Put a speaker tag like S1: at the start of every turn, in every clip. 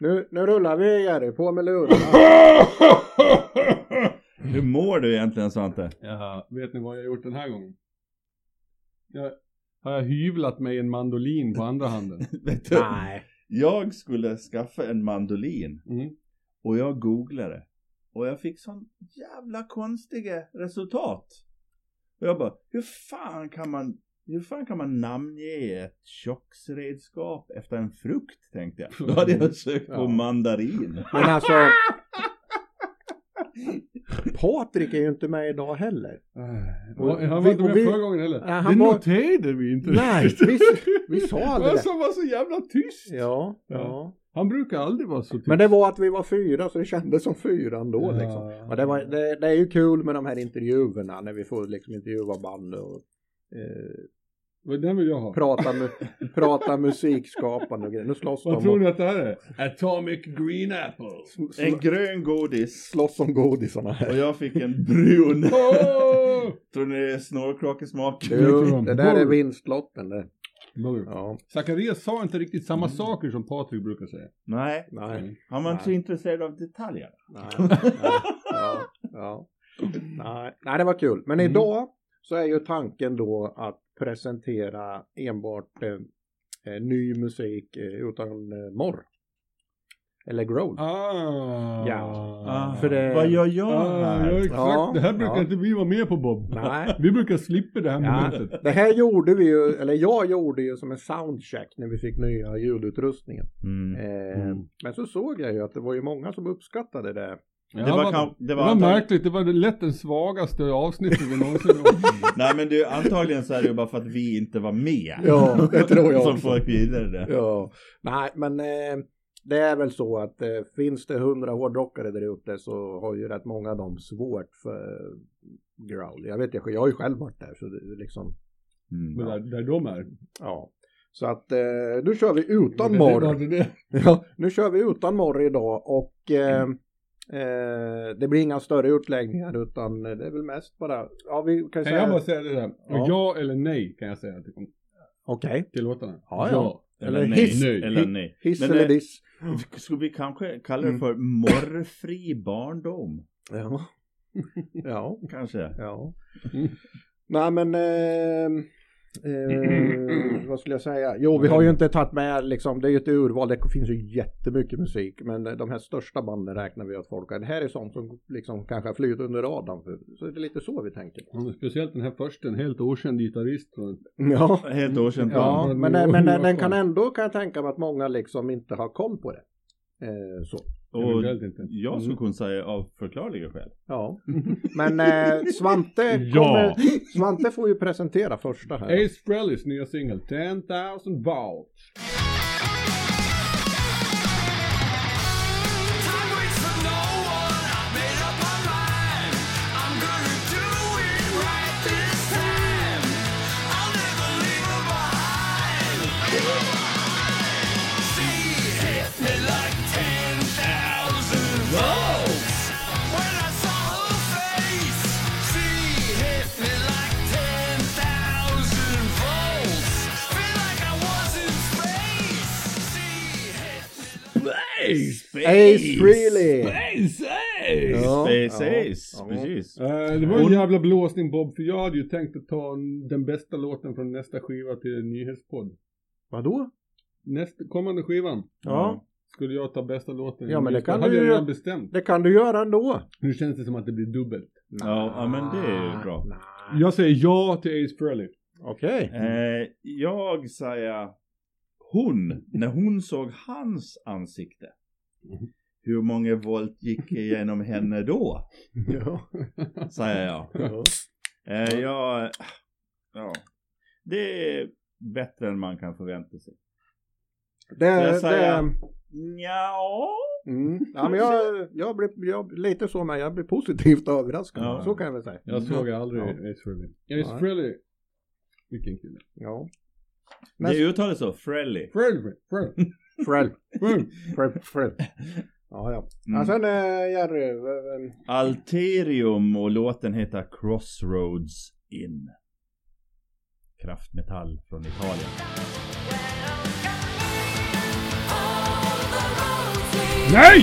S1: Nu, nu rullar vi Jerry, på med lurarna.
S2: Hur mår du egentligen Svante?
S3: Jaha, vet ni vad jag har gjort den här gången? Jag, har jag hyvlat mig en mandolin på andra handen?
S2: Vet du,
S1: Nej.
S2: jag skulle skaffa en mandolin
S1: Eh,
S3: Mm.
S2: och jag googlade och jag fick sån jävla konstiga resultat. Och jag bara, hur fan kan man, hur fan kan man namnge ett köksredskap efter en frukt tänkte jag. Då hade jag sökt på
S3: Ja.
S2: mandarin.
S1: Men alltså. Patrik är ju inte med idag heller.
S3: Och, han
S1: vi-
S3: var inte
S1: och
S3: med
S1: vi-
S3: förra gången heller.
S1: Nej, han
S3: det
S1: var-
S3: noterade vi inte.
S1: Nej, vi, vi sa aldrig
S3: Han
S1: det.
S3: som var så jävla tyst.
S1: Ja,
S3: Ja.
S1: ja.
S3: Han brukar aldrig vara så tyst.
S1: Men det var att vi var fyra så det kändes som fyra ändå
S3: Ja.
S1: liksom. Men det, var, det, det är ju kul med de här intervjuerna när vi får liksom intervjua band och eh,
S3: Men Den vill jag ha.
S1: prata, mu- prata musikskapande och grejer. Nu slåss
S3: Vad
S1: de
S3: tror
S1: om,
S3: ni att det här är? Atomic Green Apple.
S2: En grön godis
S1: slåss om godisarna här.
S2: och jag fick en brun.
S3: Åh!
S2: Tror ni det är snorkrakesmak?
S3: Det tror
S1: Du,
S3: de.
S1: det där är vinstlotten det.
S3: Bugg.
S1: Ja,
S3: Zacharias sa inte riktigt samma saker som Patrik brukar säga.
S2: Nej,
S1: Mm. nej.
S2: han var inte så
S1: Nej.
S2: intresserad av detaljer.
S1: Nej, nej, ja, ja. Nej, nej, det var kul. Men
S3: Mm.
S1: idag så är ju tanken då att presentera enbart eh, eh, ny musik eh, utan eh, morr. Eller growl.
S3: Ah.
S1: Ja.
S2: Ah,
S1: För det-
S2: Vad gör jag
S3: Ah,
S2: här?
S3: ja, exakt.
S1: Ja,
S3: det här brukar
S1: ja.
S3: inte vi vara med på Bob.
S1: Nej.
S3: Vi brukar slippa det här
S1: Ja,
S3: momentet.
S1: det här gjorde vi ju, eller jag gjorde ju som en soundcheck när vi fick nya ljudutrustningen.
S2: Mm.
S1: Eh,
S3: Mm.
S1: Men så såg jag ju att det var ju många som uppskattade det.
S3: Ja,
S2: Det var,
S3: vad-
S2: kan, det
S3: Det
S2: var,
S3: var
S2: antag-
S3: märkligt, det var lätt den svagaste avsnittet vi någonsin har.
S2: Nej men du, antagligen så är det ju bara för att vi inte var med.
S1: Ja, det tror jag
S2: Som
S1: också.
S2: folk vidare det.
S1: Ja, nej men eh, det är väl så att eh, finns det hundra hårdrockare där ute så har ju rätt många av dem svårt för growl. Jag vet inte, jag har ju själv varit där så det är liksom,
S2: Mm.
S3: Men där, där de är.
S1: ja. Så att eh, nu kör vi utan
S3: Det-
S1: morr.
S3: det- det- det-
S1: Ja, nu kör vi utan morr idag och eh, eh, det blir inga större utläggningar utan eh, det är väl mest bara, ja vi kan ju
S3: Kan jag bara
S1: säga,
S3: säga det där?
S1: Ja.
S3: Ja, ja eller nej kan jag säga till,
S1: okej,
S3: till låtarna.
S1: Ja, ja.
S2: Eller
S1: eller
S2: nej.
S1: hiss.
S2: Eller nej.
S1: hiss
S2: Men eh,
S1: eller
S2: det-
S1: diss. Mm.
S2: Skulle vi kanske kalla det för morrfri barndom?
S1: Ja. ja,
S2: Kanske.
S1: ja. Nej men, eh, eh, vad skulle jag säga? Jo, vi har ju inte tagit med liksom, det är ju ett urval, det finns ju jättemycket musik, men de här största banden räknar vi att folk har. Det här är sånt som liksom kanske har flugit under radarn, för, så det är lite så vi tänker.
S3: Mm, Speciellt den här första, en helt okänd gitarrist. från-
S1: Ja.
S2: Helt okänt
S1: Ja,
S3: Mm.
S1: men, den- men eh, den, den kan
S3: Mm.
S1: ändå kan jag tänka mig att många liksom inte har koll på det. Eh, så.
S2: Och
S3: Eventuellt inte.
S2: jag
S1: Mm.
S2: skulle kunna säga av förklarliga skäl.
S1: Ja. Men eh, Svante,
S3: Ja.
S1: kommer, Svante får ju presentera första här.
S3: Ace Frehley's nya singel 10,000 Volt.
S4: Time waits for no one. I made up my mind. I'm gonna do it right this time. I'll never leave her behind. She hit me like ten thousand volts. When I saw her face, she hit me like ten thousand volts. Feel like I was in space. She hit me.
S1: Ace Frehley! Ja,
S2: Space
S1: ja,
S2: Ace,
S1: ja.
S2: precis.
S3: Eh, det var en jävla blåsning Bob, för jag hade ju tänkt att ta en- den bästa låten från nästa skiva till en nyhetspodd.
S1: Vadå?
S3: Nästa, kommande skivan
S1: Ja,
S3: skulle jag ta bästa låten. i
S1: Ja, men det
S3: nyhetspodd.
S1: kan
S3: hade
S1: du
S3: jag
S1: ju-
S3: redan bestämt.
S1: det kan du göra ändå.
S3: Nu känns det som att det blir dubbelt.
S2: Ja, ja, men det är ju bra.
S1: Nej.
S3: Jag säger ja till Ace Frehley.
S1: Okej.
S2: Eh, jag säger hon, när hon såg hans ansikte. Hur många volt gick igenom henne då?
S1: Ja.
S2: Säger jag. Eh, jag ja. Det är bättre än man kan förvänta sig.
S1: Det,
S2: Jag säger-
S1: det,
S2: Ja.
S1: mm. ja, men jag, jag blir jag, lite så med, jag blir positivt överraskad.
S2: Ja.
S1: Så kan jag väl säga.
S3: Jag såg aldrig
S1: Mm. Ja.
S3: Ace Frehley.
S1: Nej.
S3: Ace Frehley. Vilken kille.
S1: Ja. Men-
S2: Det uttalas så, Frelly.
S3: Frehley, Frehley,
S1: Frell.
S3: Frehley.
S1: Frell. Frell. Mm. Ja, ja.
S2: Mm.
S1: Ja, sen eh, Jerry, eh, eh,
S2: Alterium och låten heter Crossroads In. Kraftmetall från Italien.
S4: All the roads
S3: Nej!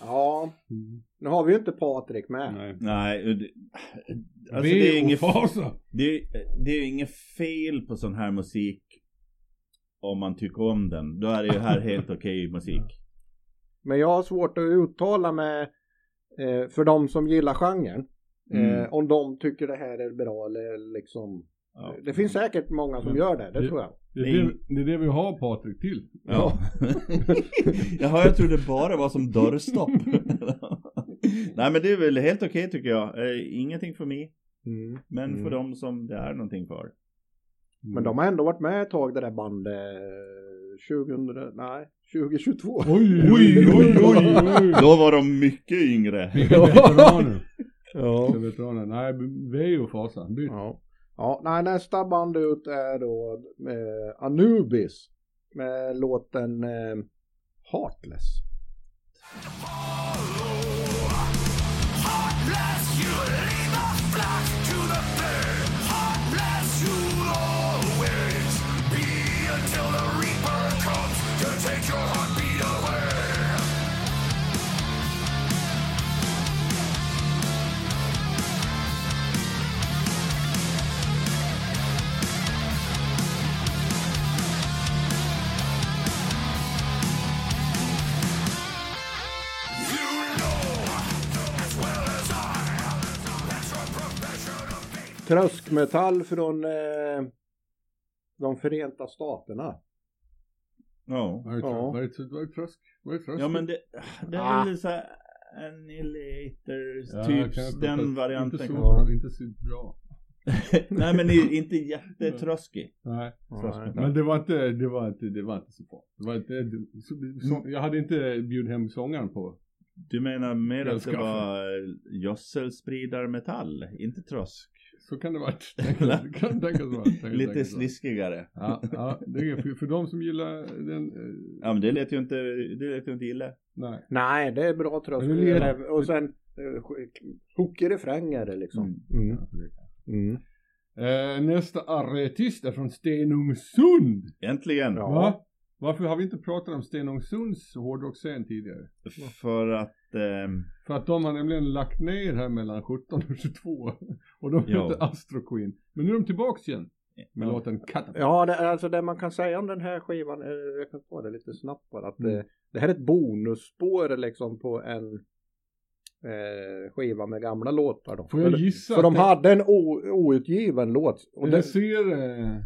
S1: Ja, nu har vi ju inte Patrik med.
S3: Nej.
S2: Nej, och det- alltså det är
S3: Ve
S2: inget
S3: och fasa.
S2: Det, det är ju inget fel på sån här musik om man tycker om den. Då är det ju här helt okej musik.
S1: Men jag har svårt att uttala mig eh, för de som gillar genren.
S2: Mm.
S1: Eh, om de tycker det här är bra eller liksom.
S2: Ja.
S1: Det finns säkert många som
S3: Men-
S1: gör det, det
S3: det-
S1: tror jag.
S3: Det är det, det är det vi har Patrik till.
S2: Ja. Jaha, jag trodde bara var som dörrstopp. Nej men det är väl helt okej tycker jag. Eh, ingenting för mig. Men
S1: Mm.
S2: för dem som det är någonting för.
S1: Men de har ändå varit med ett tag det där bandet. eh, 2000, nej, 2022.
S3: Oj, oj, oj, oj, oj.
S2: Då var de mycket yngre.
S3: Vilka veteraner.
S1: Ja.
S3: Vilka veteraner. Nej, Ve och fasa. Byt.
S1: Ja. ja, nej nästa band ut är då eh, Anubis med låten eh, Heartless. Tröskmetall från eh, de Förenta Staterna.
S2: Ja.
S3: Vad är det-
S1: Ja.
S3: vad är det- vad är det trösk? Vad är det trösk?
S2: Ja men det, det är väl såhär annihilators
S3: Ja,
S2: typ
S3: kanske
S2: den
S3: inte
S2: varianten.
S3: så
S2: kanske.
S3: bra, Inte så bra.
S2: Nej men det är inte jättetröskig.
S3: Nej.
S1: Nej.
S3: Men det var inte, det var inte, det var inte så bra. Det var inte, det- så,
S1: Mm.
S3: så, jag hade inte bjudit hem sångaren på.
S2: Du menar mer
S3: Jag
S2: att det
S3: skaffar.
S2: var gödselspridarmetall, inte trösk?
S3: Så kan det vara. Det kan tänkas vara. det kan
S2: Lite
S3: tänkas vara.
S2: sliskigare.
S3: Ja, ja det är, för, för de som gillar den, eh,
S2: Ja men det lät ju inte, det lät ju inte illa.
S3: nej.
S1: Nej, det är bra tröst.
S3: Men det är-
S1: Eller- Och sen eh, hook i refräng är det liksom. Mm. Mm.
S3: Eh, nästa artist är från Stenungsund.
S2: Äntligen!
S1: Ja.
S3: Va? Varför har vi inte pratat om Stenungsunds hårdrocksscen tidigare?
S2: För att ehm,
S3: För att de har nämligen lagt ner här mellan 17 och 22. Och de
S2: Ja.
S3: hette Astro Queen. Men nu är de tillbaks igen. Med
S2: Ja.
S3: låten Cut.
S1: Ja, det, alltså det man kan säga om den här skivan, eh, jag kan ta det lite snabbt bara, att
S3: Mm.
S1: eh, det här är ett bonusspår liksom på en eh, skiva med gamla låtar. Då.
S3: Får jag
S1: För-
S3: gissa?
S1: För de
S3: att
S1: hade en o, outgiven låt. Och
S3: När jag
S1: det,
S3: ser eh,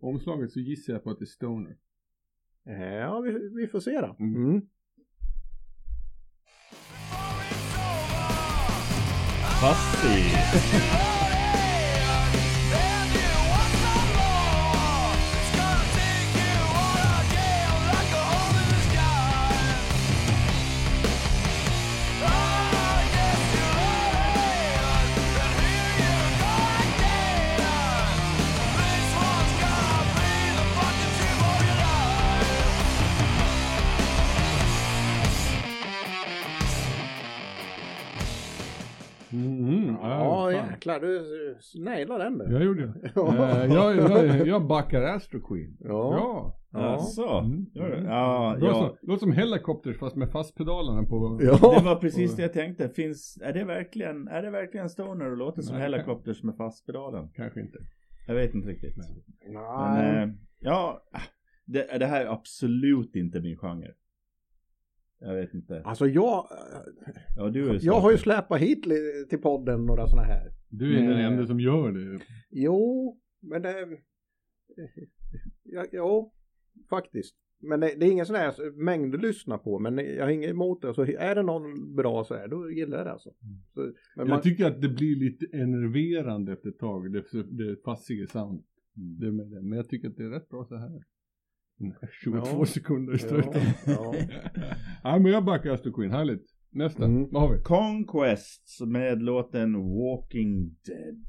S3: omslaget så gissar jag på att det är Stoner.
S1: Eh, ja, vi, vi får se då.
S3: Mm.
S1: Mm.
S2: Fasti!
S3: Mhm,
S1: Ja,
S3: fan.
S1: jäklar, du eh, nailade den nu.
S3: Jag gjorde det. Eh, jag, jag, jag backar Astro Queen.
S1: Ja.
S3: Bra.
S1: Ja.
S2: Alltså,
S3: Mm.
S2: gör det? Ja,
S3: Låt
S2: ja.
S3: som, låt som Hellacopters fast med fastpedalerna på.
S1: Ja.
S2: Det var precis det jag tänkte. Finns, är det verkligen, är det verkligen Stoner och låter som
S3: Nej.
S2: Hellacopters med fastpedalen?
S3: Kanske inte.
S2: Jag vet inte riktigt.
S1: Nej.
S2: Men, eh, ja, det, det här är absolut inte min genre. Jag vet inte.
S1: Alltså jag,
S2: Ja, du är ju
S1: jag har ju släpat hit li- till podden några sådana här.
S3: Du är den
S1: Nej.
S3: enda som gör det.
S1: Jo, men det... Ja, jo, faktiskt. Men det, det är ingen sån här mängd att lyssna på, men jag har inget emot det. Så är det någon bra så här, då gillar jag det alltså. Så, men man,
S3: Mm. Jag tycker att det blir lite enerverande efter ett tag, det, det passiga sound.
S1: Mm.
S3: Det med det. Men jag tycker att det är rätt bra så här. Mm, 22
S1: Ja.
S3: sekunder i
S1: ja,
S3: slutet.
S1: ja.
S3: Nej men jag backar Astro Queen, härligt. Nästa,
S1: Mm.
S3: vad har vi?
S2: Conquests med låten Walking Dead.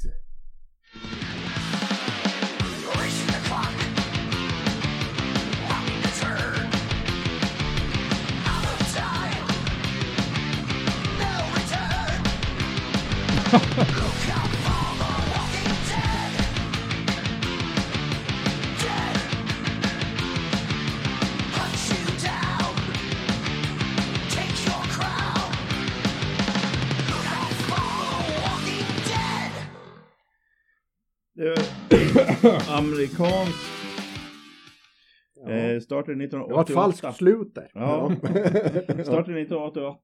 S2: Det är amerikansk. Eh, startade
S1: Det var ett
S2: 1988.
S1: falskt slut där.
S2: Ja. startade 1988.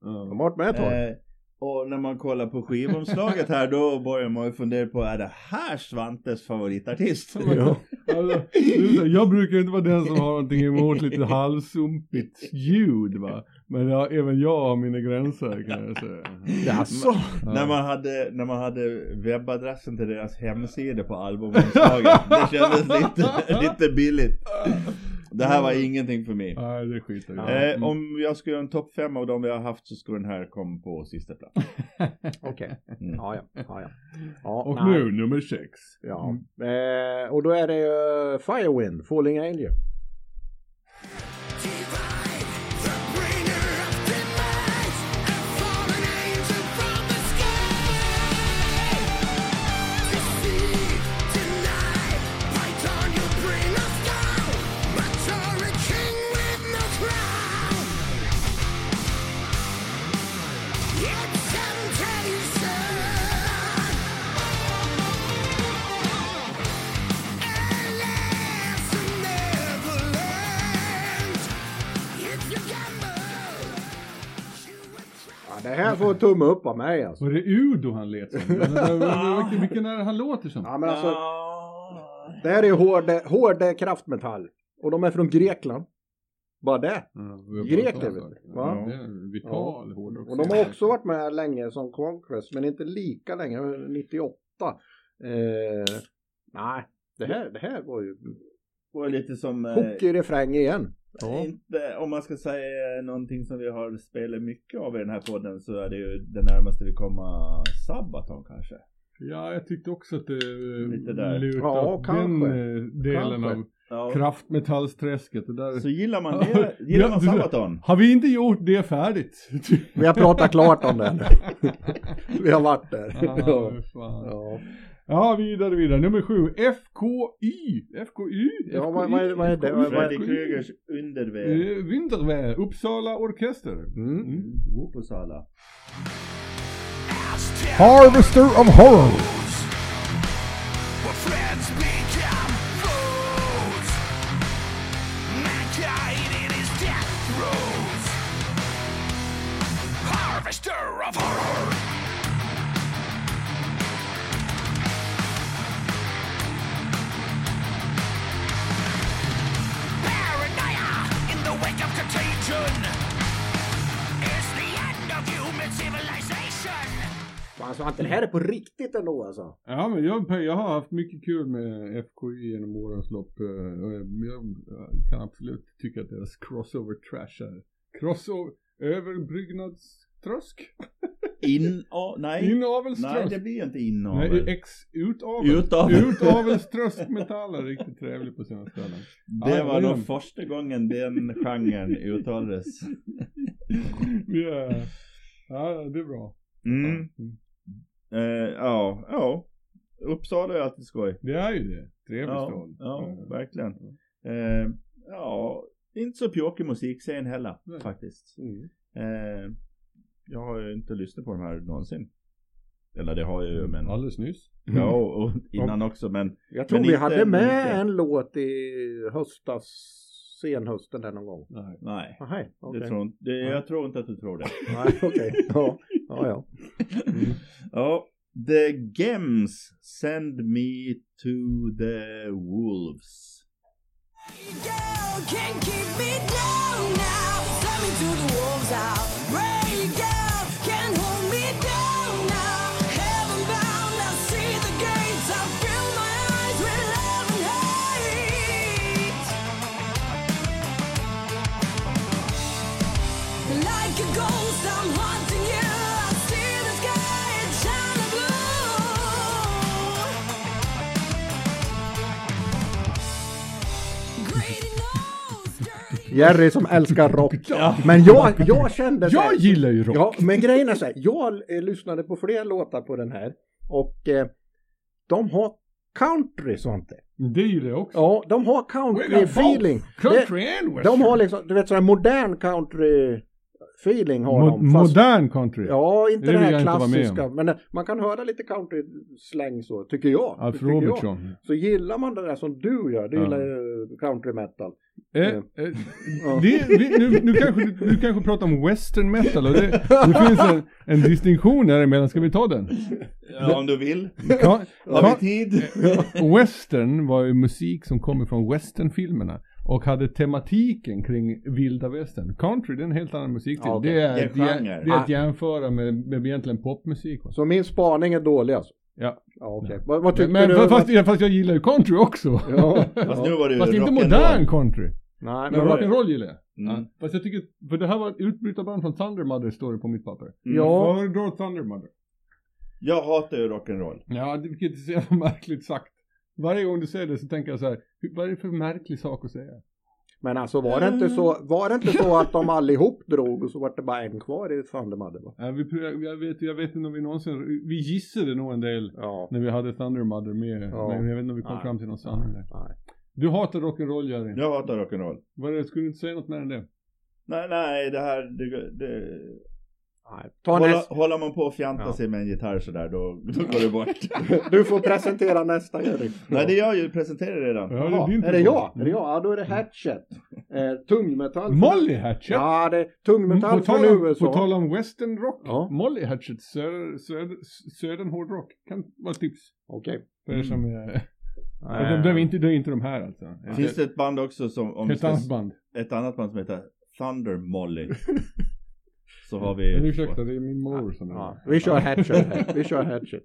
S1: De har varit med ett tag.
S2: Eh, och när man kollar på skivomslaget här då börjar man ju fundera på är det här Svantes favoritartist?
S1: Ja.
S3: Alltså, jag brukar inte vara den som har någonting emot lite halvsumpigt ljud va. Men jag, även jag har mina gränser kan jag säga.
S1: Jaså?
S3: Ja.
S2: När man, hade, när man hade webbadressen till deras hemsida på albumomslaget. Det kändes lite, lite billigt. Det här var ingenting för mig.
S3: Nej det skiter jag i.
S2: Eh, om jag skulle göra en topp fem av de vi har haft så skulle den här komma på sista plats.
S1: Okej.
S2: Mm.
S1: Ja, ja. ja, ja. ja
S3: Och
S1: nej.
S3: nu nummer sex. Mm.
S1: Ja. Eh, och då är det ju eh, Firewind, Falling Angel. Ja, det här får tumme upp av mig alltså.
S3: Var det Udo han lät som? Men, men, men, vilken- Vilken är det han låter som?
S1: Ja, men alltså
S2: Ah.
S1: det här är hård, hård kraftmetall. Och de är från Grekland. Bara det.
S3: Ja, vi har
S1: Grek
S3: pratat om
S1: är vi.
S3: saker.
S1: Va?
S3: Ja, det är Vital hårdrock.
S1: Och de har också varit med länge som Conquest, men inte lika länge, 98. Eh, nej, det här, det här var ju
S2: Och lite som... Eh,
S1: hockey refräng igen. Ja.
S2: Inte, om man ska säga någonting som vi har spelat mycket av i den här podden så är det ju det närmaste vi kommer Sabaton kanske.
S3: Ja, jag tyckte också att det
S2: Lite där.
S3: eh, lutade
S1: Ja,
S3: åt den
S1: kanske.
S3: eh, delen
S1: Kanske.
S3: av
S2: Ja.
S3: kraftmetallsträsket. Det där.
S2: Så gillar man det, gillar
S3: Ja,
S2: man
S3: du-
S2: Sabaton?
S3: Har vi inte gjort det färdigt?
S1: Vi har pratat klart om den. Vi har varit där.
S3: ah,
S1: Ja.
S3: fan.
S1: Ja.
S3: ja, vidare, vidare. Nummer sju, FKY. FKY?
S1: Ja, vad- vad är- vad är det? Vad- vad-
S2: Freddy Krügers Underväg.
S3: Eh, Winterwehr, Uppsala Orkester.
S1: Mm.
S2: Uppsala.
S1: Harvester of Horror.
S4: Friends become fools. Mankind in his death throes. Harvester of horror. Paranoia in the wake of contagion is the end of human civilization.
S1: Fan, Svante, det här är på riktigt ändå alltså.
S3: Ja, men jag, jag har haft mycket kul med FKI genom årens lopp. eh, och Jag, jag kan absolut tycka att deras crossover trash är crossover överbryggnadströsk.
S2: In, oh, nej. nej,
S3: Inavelströsk.
S2: det blir inte inavel.
S3: Nej, ex utavel.
S2: Utavel.
S3: Utavelströskmetall är riktigt trevlig på sina ställen.
S2: det
S3: Ja,
S2: var
S3: det är
S2: nog
S3: den.
S2: första gången den genren uttalades.
S3: Yeah. Ja, det är bra.
S2: Mm. Eh, ja, ja. Uppsala är alltid skoj.
S3: Det är ju det. Trevlig
S2: Ja,
S3: stad.
S2: ja
S3: Eh,
S2: verkligen. Eh, ja, inte så pjåkig musikscen heller
S3: Nej.
S2: faktiskt.
S1: Mm.
S2: Eh, jag har ju inte lyssnat på de här någonsin. Eller det har jag ju men.
S3: Alldeles nyss.
S2: Ja, och och innan också men.
S1: Jag tror
S2: Men
S1: vi
S2: inte-
S1: hade med
S2: inte.
S1: en låt i höstas, senhösten där någon gång.
S3: Nej.
S2: Nej.
S1: Ah, hej, okej.
S2: Det tror inte, det,
S1: Nej.
S2: jag tror inte att du tror det.
S1: Nej, okej. Ja, ja, ja.
S2: Ja, The Gems Send Me To The Wolves.
S5: Girl, can't keep me down now. Send me to the wolves out. Ray girl, can't hold me down now. Heaven bound, I see the gates. I fill my eyes with love and hate. Like a ghost, I'm haunting you. I see the sky, it's shining blue.
S1: Jerry som älskar rock. Men jag, jag kände så här-
S3: Jag gillar ju rock!
S1: Ja, men grejen är så här, jag eh, lyssnade på fler låtar på den här och eh, de har country Svante.
S3: Det gillar jag också.
S1: Ja, de har country feeling.
S3: Country and
S1: Det,
S3: western.
S1: de har liksom, du vet sån här modern country feeling har
S3: Mo-
S1: de. fast-
S3: Modern country.
S1: Ja, inte
S3: Det
S1: det,
S3: vill
S1: här
S3: jag inte vara med om.
S1: klassiska. Men eh, man kan höra lite country-släng så, tycker jag.
S3: Alf
S1: tycker jag.
S3: Robertson.
S1: Så gillar man det där som du gör, du
S3: Ja.
S1: gillar ju country metal.
S3: Eh, eh, det, vi, nu, nu, kanske, nu kanske pratar om western metal och det, det finns en, en distinktion däremellan, ska vi ta den?
S2: Ja, om du vill.
S3: Ka,
S2: Har
S3: ka,
S2: vi tid?
S3: western var ju musik som kom ifrån westernfilmerna och hade tematiken kring vilda västern. Country, det är en helt annan musik.
S1: Ja, Ah. okej.
S3: det, är,
S2: Det är
S3: det, är,
S2: genre.
S3: det är att jämföra med, med egentligen popmusik.
S1: Så min spaning är dålig alltså.
S3: Ja.
S1: Ja, okej. Vad, vad tyckte
S3: Men,
S1: du?
S3: men fast,
S1: Vad-
S3: ja, fast jag gillar ju country också.
S1: Ja.
S2: Fast nu var det ju
S3: Fast inte
S2: rock'n'roll.
S3: modern country.
S1: Nej,
S3: Men
S1: men vad,
S3: rock'n'roll gillar jag.
S2: Mm.
S3: Ja. Fast jag tycker, för det här var ett utbrytarband från Thunder Mother står det på mitt papper.
S1: Mm. ja.
S3: Föredrar Thunder Mother.
S2: Jag hatar ju rock'n'roll.
S3: Ja, det- vilket är så jävla märkligt sagt. Varje gång du säger det så tänker jag så här, hur- vad är det för märklig sak att säga?
S1: Men alltså var det inte så, var det inte så att de allihop drog och så var det bara en kvar i Thunder Mother? Va?
S3: Ja, vi, prö- jag, vet, jag vet inte om vi någonsin, vi gissade nog en del
S1: Ja.
S3: när vi hade Thunder Mother med,
S1: Ja.
S3: men jag vet inte om vi kom
S1: Nej.
S3: fram till någon sanning där.
S1: Nej.
S3: Du hatar rock'n'roll Jerry.
S2: Jag hatar rock'n'roll.
S3: Vad är det, skulle du inte säga något mer än det?
S2: Nej, nej, det här... Det, det,
S1: Nej. Ta
S2: hålla,
S1: nästa.
S2: håller man på och fjanta
S1: Ja.
S2: sig med en gitarr sådär, då, då går det bort.
S1: Du får presentera nästa Erik.
S2: nej, det är jag ju presenterar redan.
S3: Ja,
S1: Jaha,
S3: din
S1: är
S3: tur.
S1: det jag? Är det jag? Ja, då är det Hatchet. Eh, tungmetall.
S3: Molly Hatchet!
S1: Ja, det är tungmetall
S3: Mm, på, tal
S1: från
S3: om,
S1: USA.
S3: på tal om western rock,
S1: Ja.
S3: Molly Hatchet, söder, söder, södern hårdrock, kan vara ett tips.
S1: Okej.
S3: För
S2: Mm.
S3: er som är...
S1: Eh,
S3: De, de är inte, det är inte de här alltså.
S2: Finns det ett band också som... Om
S3: Ett
S2: vi
S3: annat band.
S2: ett annat band som heter Thunder Molly. Så har
S3: Men
S2: vi...
S3: ursäkta, det är min mor som är
S1: Ja, vi kör Hatchet här. Vi kör Hatchet.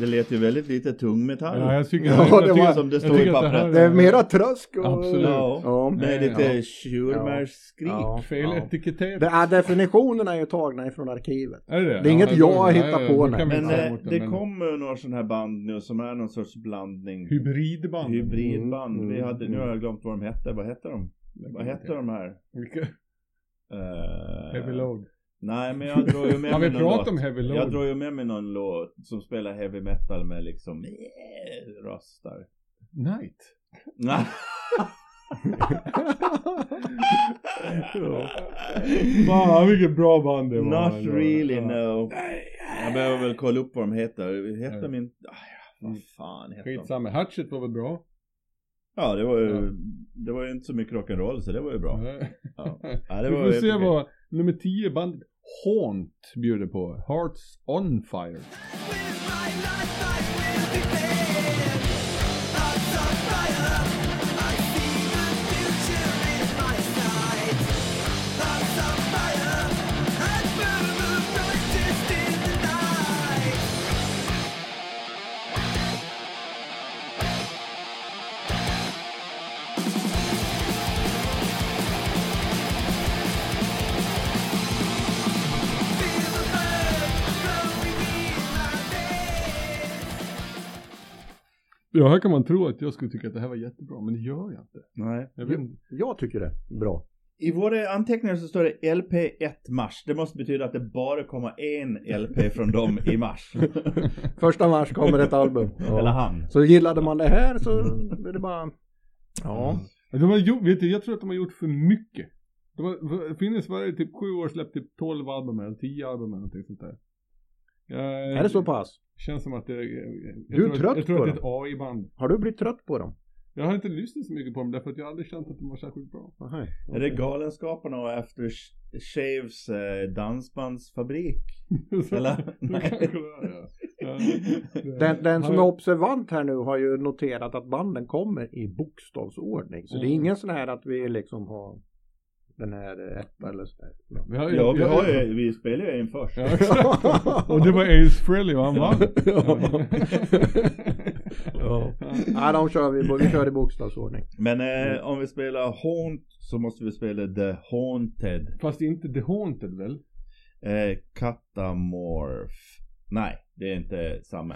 S2: Det lät ju väldigt lite tungmetall.
S3: Ja, jag tycker,
S1: Ja,
S3: jag,
S1: det
S3: tycker
S1: var-
S3: att-
S2: som det
S3: jag
S2: står i
S3: tycker att här
S2: pappret.
S1: Det är mera trösk och...
S3: Absolut.
S2: Ja.
S1: Ja.
S2: Med
S3: Nej,
S2: lite tjurmärskskrik.
S1: Ja.
S3: Fel etiketterat.
S1: Det är, definitionerna är ju tagna ifrån arkivet.
S3: Är det,
S1: det är inget jag
S3: då-
S1: hittar
S3: nej,
S1: på,
S3: då
S1: nej.
S3: kan vi
S2: Men
S3: ta
S2: eh,
S3: emot den,
S2: det
S3: men-
S2: kommer ju några sådana här band nu som är någon sorts blandning.
S3: Hybridband.
S2: Hybridband.
S1: Mm,
S2: Vi
S1: mm,
S2: hade, nu har jag glömt vad de hette. Vad hette de?
S3: Mm.
S2: Vad hette de här?
S3: Vilka?
S2: Eh,
S3: Heavy Load.
S2: Nej men jag drog ju med
S3: Har vi
S2: mig någon
S3: pratat
S2: låt.
S3: om Heavy
S2: Jag
S3: Load?
S2: drog ju med mig någon låt som spelar heavy metal med liksom eh, röster.
S3: Night.
S2: Nej.
S3: Fan vilket bra band det var. alltså.
S2: Not really
S3: Ja.
S2: no. Jag behöver väl kolla upp vad de heter. Hette de inte... Ah, ja, vad fan hette de?
S3: Skitsamma. Hatchet var väl bra?
S2: Ja det var ju,
S3: Ja.
S2: det var ju inte så mycket rock'n'roll så det var ju bra. Ja. Ja, det
S3: Eh, Vi
S2: var
S3: får
S2: ju
S3: se
S2: helt okej.
S3: vad nummer 10 band Haunt bjuder på. Hearts on fire. Ja, här kan man tro att jag skulle tycka att det här var jättebra, men det gör jag inte.
S2: Nej.
S3: Jag vet inte.
S1: Jag tycker det. är Bra.
S2: I våra anteckningar så står det LP 1 mars. Det måste betyda att det bara kommer en LP från dem i mars.
S1: Första mars kommer ett album.
S2: Eller
S1: Ja.
S2: han.
S1: Så gillade man det här så är det bara... Ja.
S3: De har gjort, Alltså, vet du, jag tror att de har gjort för mycket. De har, Finnes varje typ sju år släppt typ 12 album eller 10 album eller någonting sånt där. Eh,
S1: Är det så pass?
S3: Känns som att det... Jag,
S1: är
S3: tror att-
S1: trött
S3: Jag tror
S1: på
S3: att det är ett AI-band.
S1: Har du blivit trött på dem?
S3: Jag har inte lyssnat så mycket på dem därför att jag har aldrig känt att de var särskilt bra.
S1: Aha.
S2: Är det Galenskaparna och After Shaves eh, dansbandsfabrik?
S3: Så-
S2: Eller?
S3: så
S2: Nej.
S3: kanske det är, ja. Eh, Ja, det-
S1: Den, den som är
S3: har-
S1: observant här nu har ju noterat att banden kommer i bokstavsordning. Så det är
S3: Mm.
S1: ingen sån här att vi liksom har den här eh, etta eller sådär.
S3: Vi har ju-
S2: Ja, vi, har ju, vi spelar ju en först.
S3: Ja, exakt. Och det var Ace Frehley och han vann.
S1: Ja. Nej, de kör vi, vi kör i bokstavsordning.
S2: Men eh, om vi spelar Haunt så måste vi spela The Haunted.
S3: Fast inte The Haunted väl?
S2: Eh, Catamorph. Nej, det är inte samma.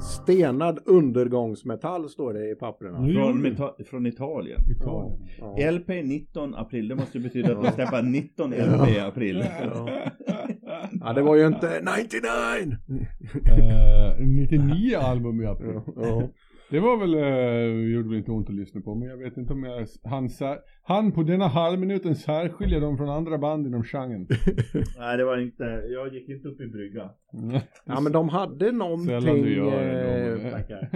S1: Stenad undergångsmetall står det i papperna.
S3: Mm.
S2: Från, meta- från Italien.
S3: Italien.
S1: Ja.
S2: LP 19 april, det måste ju betyda att de släpper 19 LP i april.
S1: Ja. ja, det var ju inte 99!
S3: Eh, 99 album i april.
S1: Ja, ja.
S3: Det var väl, eh, gjorde väl inte ont att lyssna på, men jag vet inte om jag, han, sär, han på denna halvminuten särskiljer dem från andra band inom genren.
S2: Nej, det var inte, jag gick inte upp i brygga.
S3: Mm.
S1: ja, men de hade
S3: Sällan
S1: någonting.
S3: du gör det.
S1: eh,
S3: Dom.
S2: tackar.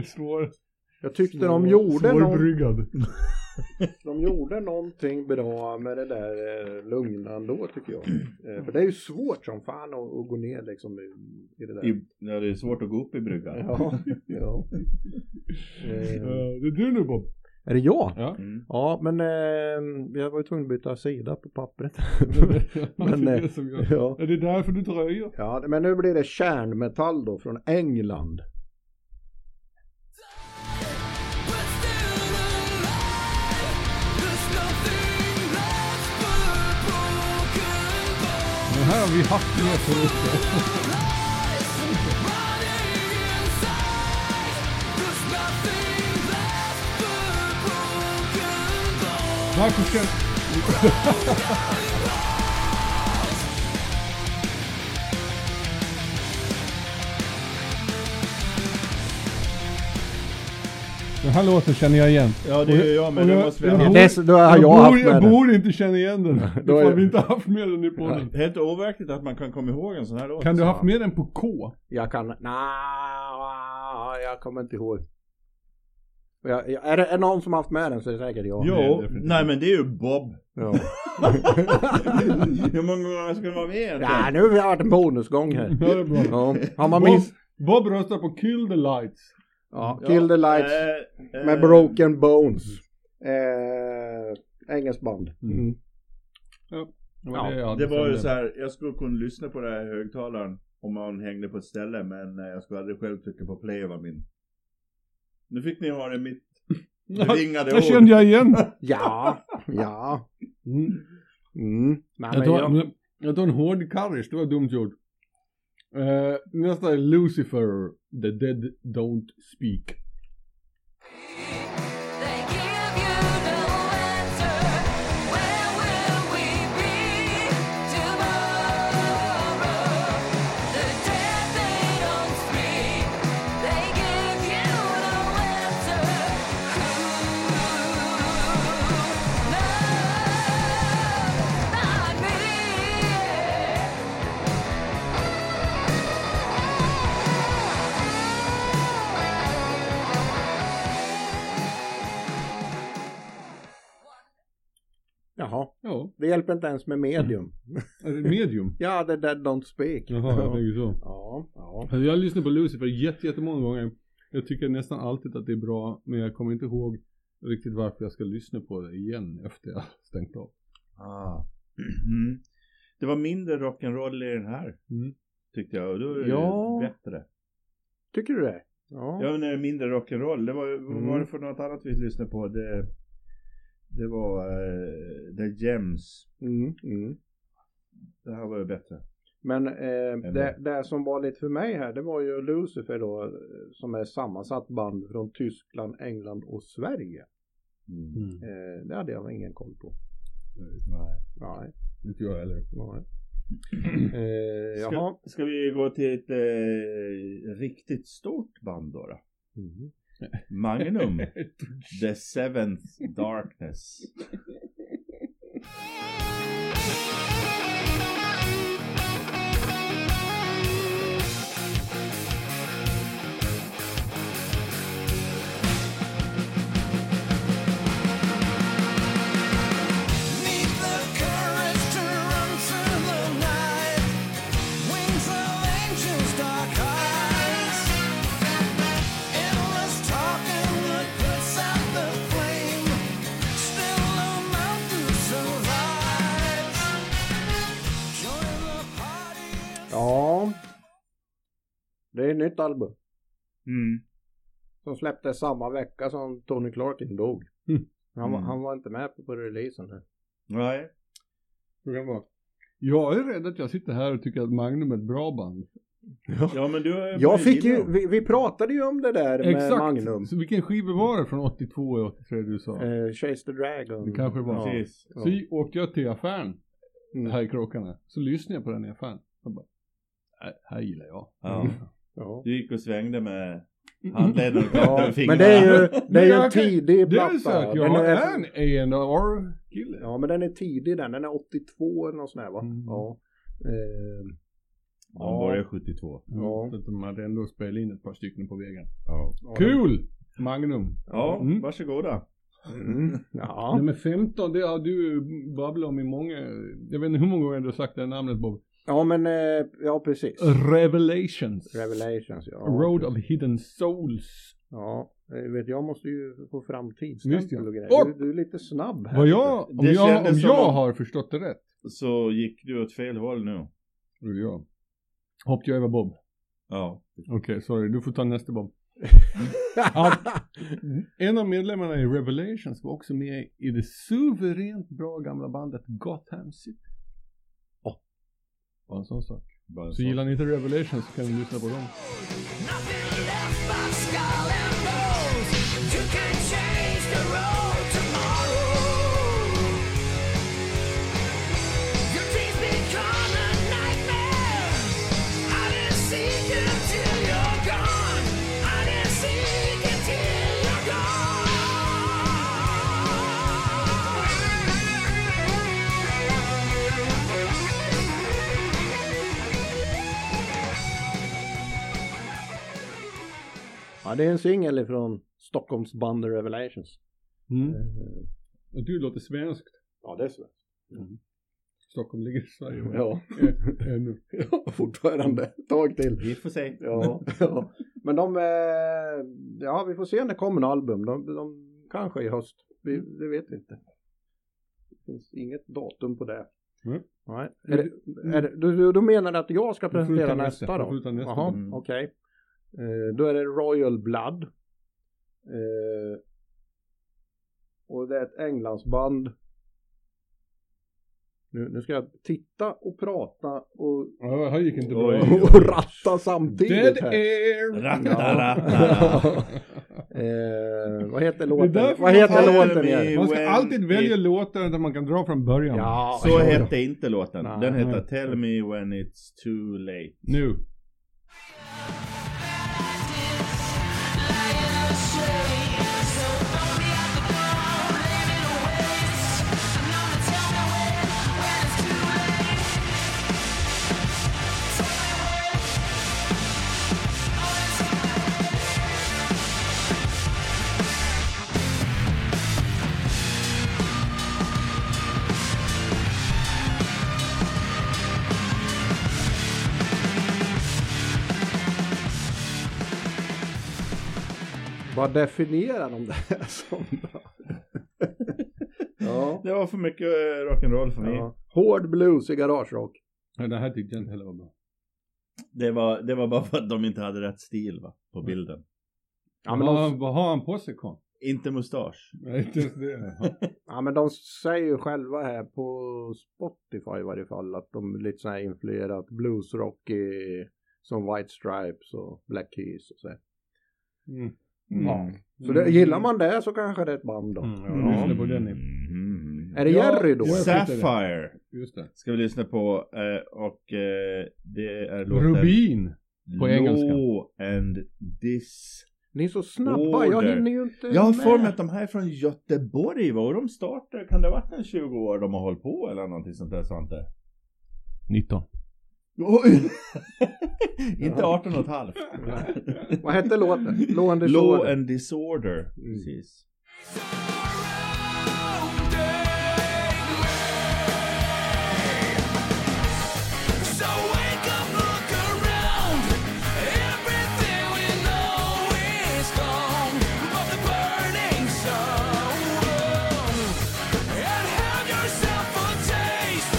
S3: Svår,
S1: Jag tyckte de gjorde, någon,
S3: Svårbryggad.
S1: de gjorde någonting bra med det där eh, lugna ändå tycker jag. Eh, för det är ju svårt som fan att, att gå ner liksom i, i det där.
S2: I, ja, det är svårt att gå upp i brygga.
S1: Ja, ja. Eh,
S3: Eh, Det är du nu Bob.
S1: är det jag?
S3: Ja.
S2: Mm.
S1: Ja, men eh, jag var ju tvungen att byta sida på pappret.
S3: men, det är,
S1: eh,
S3: det som gör.
S1: ja.
S3: är det därför du dröjer?
S1: ja, men nu blir det kärnmetall då från England.
S3: Den här har vi haft med förut. Varför ska... Den här låten känner jag igen.
S2: Ja, det gör jag, men
S3: Och
S2: nu
S3: jag-
S2: måste vi
S3: jag
S2: ha
S3: bor-
S2: med.
S1: Dess, då har jag,
S3: borde,
S1: haft med
S3: jag
S1: den.
S3: borde inte känna igen den.
S1: Då
S3: Då
S1: är-
S3: har vi inte haft med den i podden.
S2: Helt overkligt att man kan komma ihåg en sån här låt.
S3: Kan du ha haft med den på K?
S1: Jag kan, nej, jag kommer inte ihåg. Jag, jag, är det är det någon som haft med den så är det säkert jag.
S3: Nej,
S2: Jo,
S3: definitivt.
S2: nej men det är ju Bob.
S1: Ja.
S2: Hur många gånger ska det vara med
S1: ja,
S2: egentligen?
S1: nu har vi varit en bonusgång här.
S3: Ja, det är bra.
S1: Ja, har man
S3: Bob,
S1: minst...
S3: Bob röstar på Kill the Lights.
S1: Ja, Kill the Lights
S2: Eh, eh,
S1: med Broken Bones. Eh, engelskt band.
S3: Mm.
S1: Ja,
S3: jag
S2: Det var ju
S3: hade.
S2: så här, jag skulle kunna lyssna på det här i högtalaren om man hängde på ett ställe men eh, jag skulle aldrig själv trycka på play var min. Nu fick ni ha det mitt bevingade
S3: Det
S2: ord.
S3: kände jag igen.
S1: Ja, ja.
S3: Mm.
S1: Mm. Nej,
S3: Jag
S1: men
S3: tar,
S1: jag,
S3: men- jag tar en hård courage, det var dumt gjort. Eh, nästa är Lucifer, The Dead Don't Speak.
S1: jaha,
S3: Ja,
S1: det hjälper inte ens med medium.
S3: är det medium?
S1: Ja, the dead don't speak.
S3: Jaha, jag
S1: ja.
S3: tänker så.
S1: ja, ja.
S3: Alltså, Jag lyssnar på Lucifer jätte- jättemånga gånger. Jag tycker nästan alltid att det är bra, men jag kommer inte ihåg riktigt varför jag ska lyssna på det igen efter jag har stängt av.
S2: Ah. Mm. Det var mindre rock'n'roll i den här.
S3: Mm.
S2: Tyckte jag och då är det
S1: Ja.
S2: bättre.
S1: Tycker du det? Ja.
S2: Ja men det är mindre rock'n'roll. Det var, vad var
S1: Mm.
S2: det för något annat vi lyssnade på? Det, det var eh, The Gems.
S1: Mm, mm.
S2: Det här var ju bättre.
S1: Men eh, det, det som var lite för mig här, det var ju Lucifer då, eh, som är sammansatt band från Tyskland, England och Sverige.
S2: Mm.
S1: Eh, det hade jag ingen koll på.
S2: Nej.
S1: Nej,
S3: Inte jag heller.
S1: nej. Eh, jaha.
S2: Ska, ska vi gå till ett eh, riktigt stort band då? då?
S1: Mhm.
S2: Magnum, The Seventh Darkness.
S4: Need the courage to run through the night. Wings of angels, dark eyes. Endless talk and what puts out the flame. Still no mountain survives. Join the party.
S1: Ja. Det är ett nytt album.
S2: Mm.
S1: Som släpptes samma vecka som Tony Clarkin dog.
S3: Mm.
S1: Han, var,
S2: Mm.
S1: han var inte med på, på releasen. Här.
S2: Nej.
S3: Så kan det vara. Jag är rädd att jag sitter här och tycker att Magnum är ett bra band.
S2: Ja men du har ju
S1: Jag
S2: börjat
S1: fick
S2: gilla
S1: ju,
S2: dem.
S1: vi, vi pratade ju om det där med Magnum.
S3: Så vilken skiva var det från 82 och 83 du sa?
S1: Eh, Chase the Dragon.
S3: Det kanske var.
S1: Ja.
S2: Precis.
S1: Ja.
S3: Så åkte jag till affären
S1: Mm.
S3: här i Kråkarna. Så lyssnade jag på den i affären. Jag bara, "Nej, här gillar jag.
S2: Ja.
S1: Ja.
S2: Du gick och svängde med handleden och
S1: Mm. Ja,
S2: ja,
S1: men det är ju, det är ju en
S3: jag kan-
S1: tidig
S3: mm. Det är ju så
S1: platta.
S3: att
S1: Den
S3: jag
S1: är-
S3: är en A&R kille
S1: Ja men den är tidig den, den är 82 eller något sånt där va?
S3: Mm.
S1: Ja. Eh,
S2: Han började 72.
S1: Ja.
S3: Mm. Så att de hade ändå spelat in ett par stycken på vägen.
S2: Ja,
S1: ja,
S3: Kul! Magnum.
S2: ja
S3: Mm.
S2: varsågoda.
S1: Mm. Ja.
S3: Nummer 15, det har du babblat om i många, jag vet inte hur många gånger du har sagt det här namnet Bob.
S1: ja men, eh, ja precis.
S3: Revelations.
S1: Revelations ja.
S3: Road of Hidden Souls.
S1: Ja, eh, vet jag måste ju få fram
S3: Visst, ja.
S1: tidsstämpel och grejer. Du,
S3: Och-
S1: du är lite snabb här.
S3: Vad jag, om
S2: Det
S3: jag, om
S2: kändes som
S3: jag
S2: om-
S3: har förstått det rätt,
S2: Så gick du åt fel håll nu.
S3: då är det jag. Hoppade jag över Bob.
S2: Ja.
S3: Okej, sorry, du får ta nästa Bob. Ja. En av medlemmarna i Revelations var också med i det suveränt bra gamla bandet Gotham City.
S1: Ja.
S3: Bara en sån sak.
S2: Bara en
S3: Så
S2: sån.
S3: gillar ni inte Revelations så kan ni lyssna på dem.
S4: Nothing left but skull and bones. You can change the road tomorrow. Your dreams become a nightmare. I didn't seek you till you're gone. I didn't seek you till you're
S1: Ja det är en singel ifrån Stockholms band Revelations. Eh,
S3: Mm. Och du låter svenskt.
S1: Ja det är så.
S3: Stockholm ligger i Sverige. va?
S1: Ja,
S3: Eh, ännu.
S1: fortfarande. Ett tag till.
S2: Vi får se.
S1: Ja, ja. Men de, eh, ja vi får se när det kommer en album. De, de kanske i höst. Vi, det vet vi inte. Det finns inget datum på det.
S3: Nej.
S1: Nej. Mm. Är det, är det, du, du- du menar att jag ska
S3: får ta
S1: presentera
S3: nästa.
S1: nästa
S3: Du får
S1: då?
S3: ta nästa.
S1: Jaha,
S2: Mm.
S1: okej. Eh, då är det Royal Blood. Eh, och det är ett Englandsband. Nu, nu ska jag titta och prata och,
S3: Ja, här gick inte
S2: Oj,
S3: bra.
S2: oj.
S1: och ratta samtidigt.
S3: Dead
S1: här.
S3: air!
S2: Ratta, ratta.
S1: Ja. Eh, vad heter
S3: Det är
S1: låten?
S3: därför
S1: Vad
S3: man
S1: heter
S2: tar
S1: låten
S2: dem i-
S1: igen?
S3: Man ska
S2: When
S3: alltid välja
S2: it-
S3: låtar där man kan dra från början.
S1: Ja,
S2: Så
S1: ja, ja.
S2: hette inte låten.
S1: Nej.
S2: Den hette Tell Me When It's Too Late.
S3: Nu.
S1: Vad definierar de det här som? då? ja.
S2: Det var för mycket eh, rock'n'roll för mig.
S1: ja. Hård blues i garagerock.
S3: Ja, det här tyckte jag inte heller var bra.
S2: Det, var, det var bara för att de inte hade rätt stil va? på bilden.
S1: Ja men,
S3: vad,
S1: de,
S3: vad har han på sig Con?
S2: Inte mustasch.
S3: Nej, inte ens det.
S1: ja men de säger ju själva här på Spotify i varje fall att de är lite så här influerat bluesrock i, som White Stripes och Black Keys och så. här.
S3: Mm.
S1: Mm. Ja. Så det, gillar man det så kanske det är ett band då.
S3: Mm,
S1: Ja.
S3: ja. Lyssna på den.
S2: Mm.
S1: Är det Jerry då?
S3: Ja, jag skiter i det.
S2: Sapphire
S3: Just det.
S2: ska vi lyssna på eh, och eh, det är låten
S3: Rubin. på engelska.
S2: Law and this.
S1: Ni är så snabba, jag
S2: Order.
S1: hinner ju inte
S2: Jag har
S1: med.
S2: för mig att de här är från Göteborg. Vad var de startade? Kan det ha varit en 20 år de har hållit på eller någonting sånt där Svante?
S3: 19.
S2: Oj! Inte 18 och ett halvt.
S1: Vad hette låten? Law and
S2: Law
S1: Disorder. Mm.
S2: and disorder. Precis.
S4: So wake up, look around. Everything we know is gone, but the burning soul. And have yourself a taste.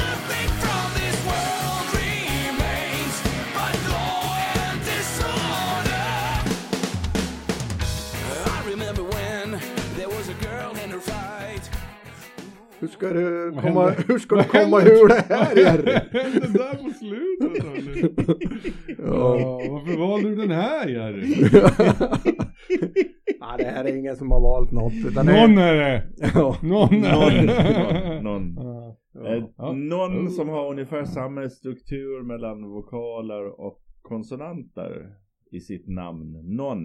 S4: Nothing from this world remains but law and disorder. I remember when there was a girl and her fight.
S1: Hur ska du
S3: Vad
S1: komma,
S3: hände?
S1: hur ska du
S3: Vad hände?
S1: komma ur det här Jerry?
S3: hände där på slutet? Ronny?
S1: Ja.
S3: Ja, varför valde du den här Jerry?
S1: Nej, det här är ingen som har valt något. Utan det är-
S3: Någon är det!
S1: Ja.
S3: Någon är det!
S2: Någon, någon, någon.
S3: Ja.
S2: Eh,
S3: Ja.
S2: Någon som har ungefär samma struktur mellan vokaler och konsonanter i sitt namn. Någon.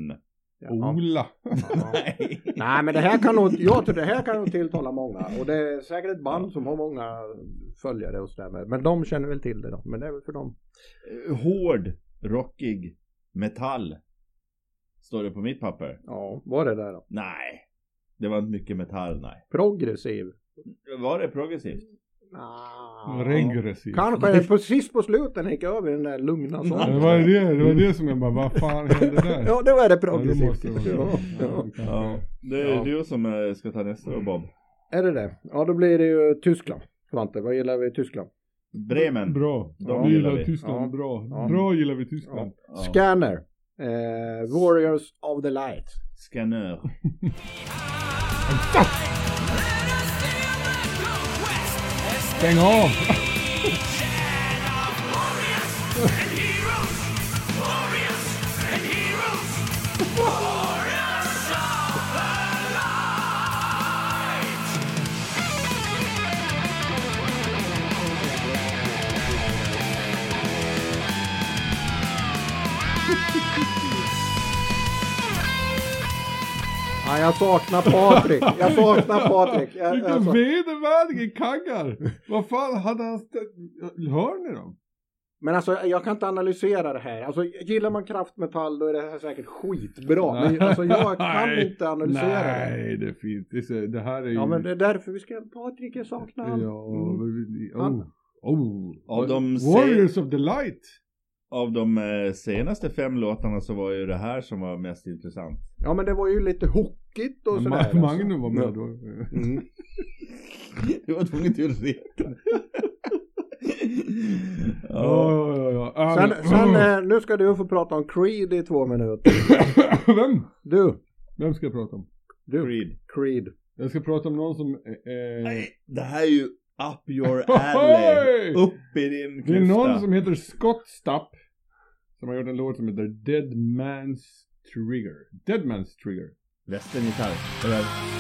S1: Ja.
S3: Ola. Oh.
S2: Nej.
S1: Nej, men det här kan nog, jag tror det här kan nog tilltala många. Och det är säkert ett band som har många följare och sådär. Men de känner väl till det då. Men det är väl för dem.
S2: Hård, rockig, metall. Står det på mitt papper?
S1: Ja, var det där då?
S2: Nej. Det var inte mycket metall, nej.
S1: Progressiv.
S2: Var det progressivt?
S1: Ah.
S3: Regressiv.
S1: Kanske precis på slutet när jag gick över i den där lugna
S3: Det
S1: sången.
S3: var det, det var det som jag bara, vad fan hände där?
S1: Ja, då är det
S3: Ja, det måste det
S1: progressivt.
S3: vara.
S1: Ja, ja.
S3: Ja, Mm.
S2: Ja.
S3: kanske.
S2: Det är
S1: Ja.
S2: du som eh, ska ta nästa då, Bob.
S1: Är det det? Ja, då blir det ju Tyskland. Svante, vad gillar vi i Tyskland?
S2: Bremen.
S3: Bra.
S2: Ja,
S3: vi
S2: gillar vi.
S3: gillar Tyskland
S1: Ja.
S3: bra.
S1: Ja.
S3: Bra gillar vi Tyskland.
S2: Ja.
S1: Scanner. Eh, Warriors of the Light.
S2: Scanner.
S3: Stäng av!
S1: Ja, jag saknar Patrik. Jag saknar Patrik. Jag, alltså- jag
S3: Vilken
S1: saknar-
S3: vedervärdige kaggar! Vad fan hade han ställt... Hör ni dem?
S1: Men alltså jag kan inte analysera det här. Alltså gillar man kraftmetall då är det här säkert skitbra. Men alltså jag kan
S3: Nej.
S1: inte analysera det.
S3: Nej, det är fint. Det är, så- det här är ju...
S1: Ja men det är därför vi ska... Patrik, jag saknar
S3: Ja,
S1: honom. Mm.
S3: men-
S1: Han-
S3: oh. Oh.
S2: Av de se-
S3: Warriors of the Light!
S2: Av de eh, senaste fem låtarna så var ju det här som var mest intressant.
S1: Ja men det var ju lite hockigt och
S3: Ma-
S1: sådär. alltså.
S3: Magnum var med då.
S1: Mm.
S2: Du var tvungen till att reta. ja.
S3: Ja, ja, ja. ja. Oh.
S1: Sen,
S3: men-
S1: sen eh, nu ska du få prata om Creed i två minuter.
S3: Vem?
S1: Du,
S3: Vem ska jag prata om?
S1: du,
S2: Creed.
S1: Creed.
S3: Jag ska prata om någon som... Eh,
S2: Nej, det här är ju up your alley.
S3: Oj!
S2: Upp i din
S3: det
S2: klyfta.
S3: är någon som heter Scott Stapp. Som har gjort en låt som heter Dead Man's Trigger. Dead Man's Trigger.
S2: Västerngitarr. Eller-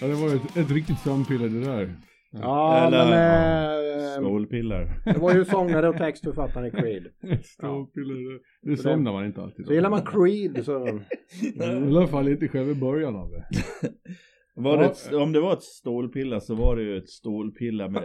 S3: Ja, det var ett, ett riktigt sömnpiller det där.
S1: Ja
S2: Eller-
S1: men
S2: Ehm.
S1: eh, eh,
S2: Stålpiller.
S1: det var ju sångare och textförfattare i Creed.
S3: Ett Sömnpiller det där. Det somnar man inte alltid.
S1: Så gillar man Creed så...
S3: Mm. I alla fall inte själva början av det.
S2: Var det ett, om det var ett stålpiller så var det ju ett stålpiller med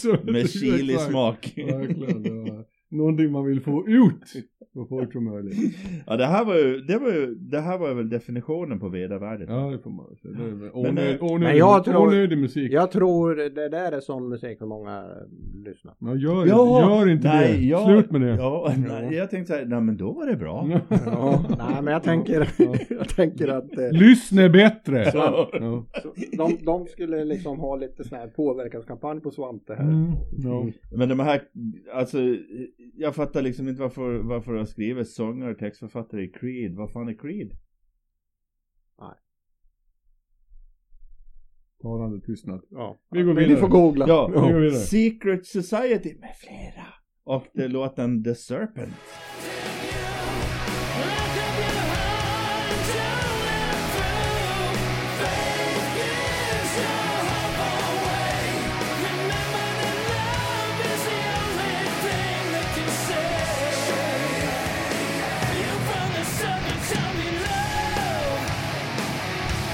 S3: Så-
S2: med chilismak.
S3: Verkligen. Det var, Någonting man vill få ut så fort som möjligt.
S2: Ja det här var ju, det var ju, det här var väl definitionen på vedervärdigt.
S3: Ja, det får man väl säga. Det är väl
S2: Men,
S3: onödig,
S1: men
S3: onödig,
S1: jag tror-
S3: onödig musik.
S1: Jag tror det där är sån musik för många eh, lyssnar.
S3: Ja, gör,
S2: Ja,
S3: gör inte
S2: nej,
S3: det.
S2: jag-
S3: Slut med det. Mm.
S2: Ja, nej, jag tänkte såhär, nej men då var det bra.
S1: Nej men jag tänker, jag tänker att eh,
S3: Lyssna bättre.
S2: Ja.
S3: Ja.
S1: de, de skulle liksom ha lite sån här påverkanskampanj på Svante här.
S3: Mm, ja.
S2: Men de här, alltså jag fattar liksom inte varför, varför jag skriver sångare och textförfattare i Creed. Vad fan är Creed?
S3: Talande tystnad.
S1: Ja.
S3: Vi går
S1: Men Ni
S3: vidare.
S1: får googla.
S2: Ja,
S3: Vi går vidare.
S2: Secret Society med flera. Och det låten The Serpent.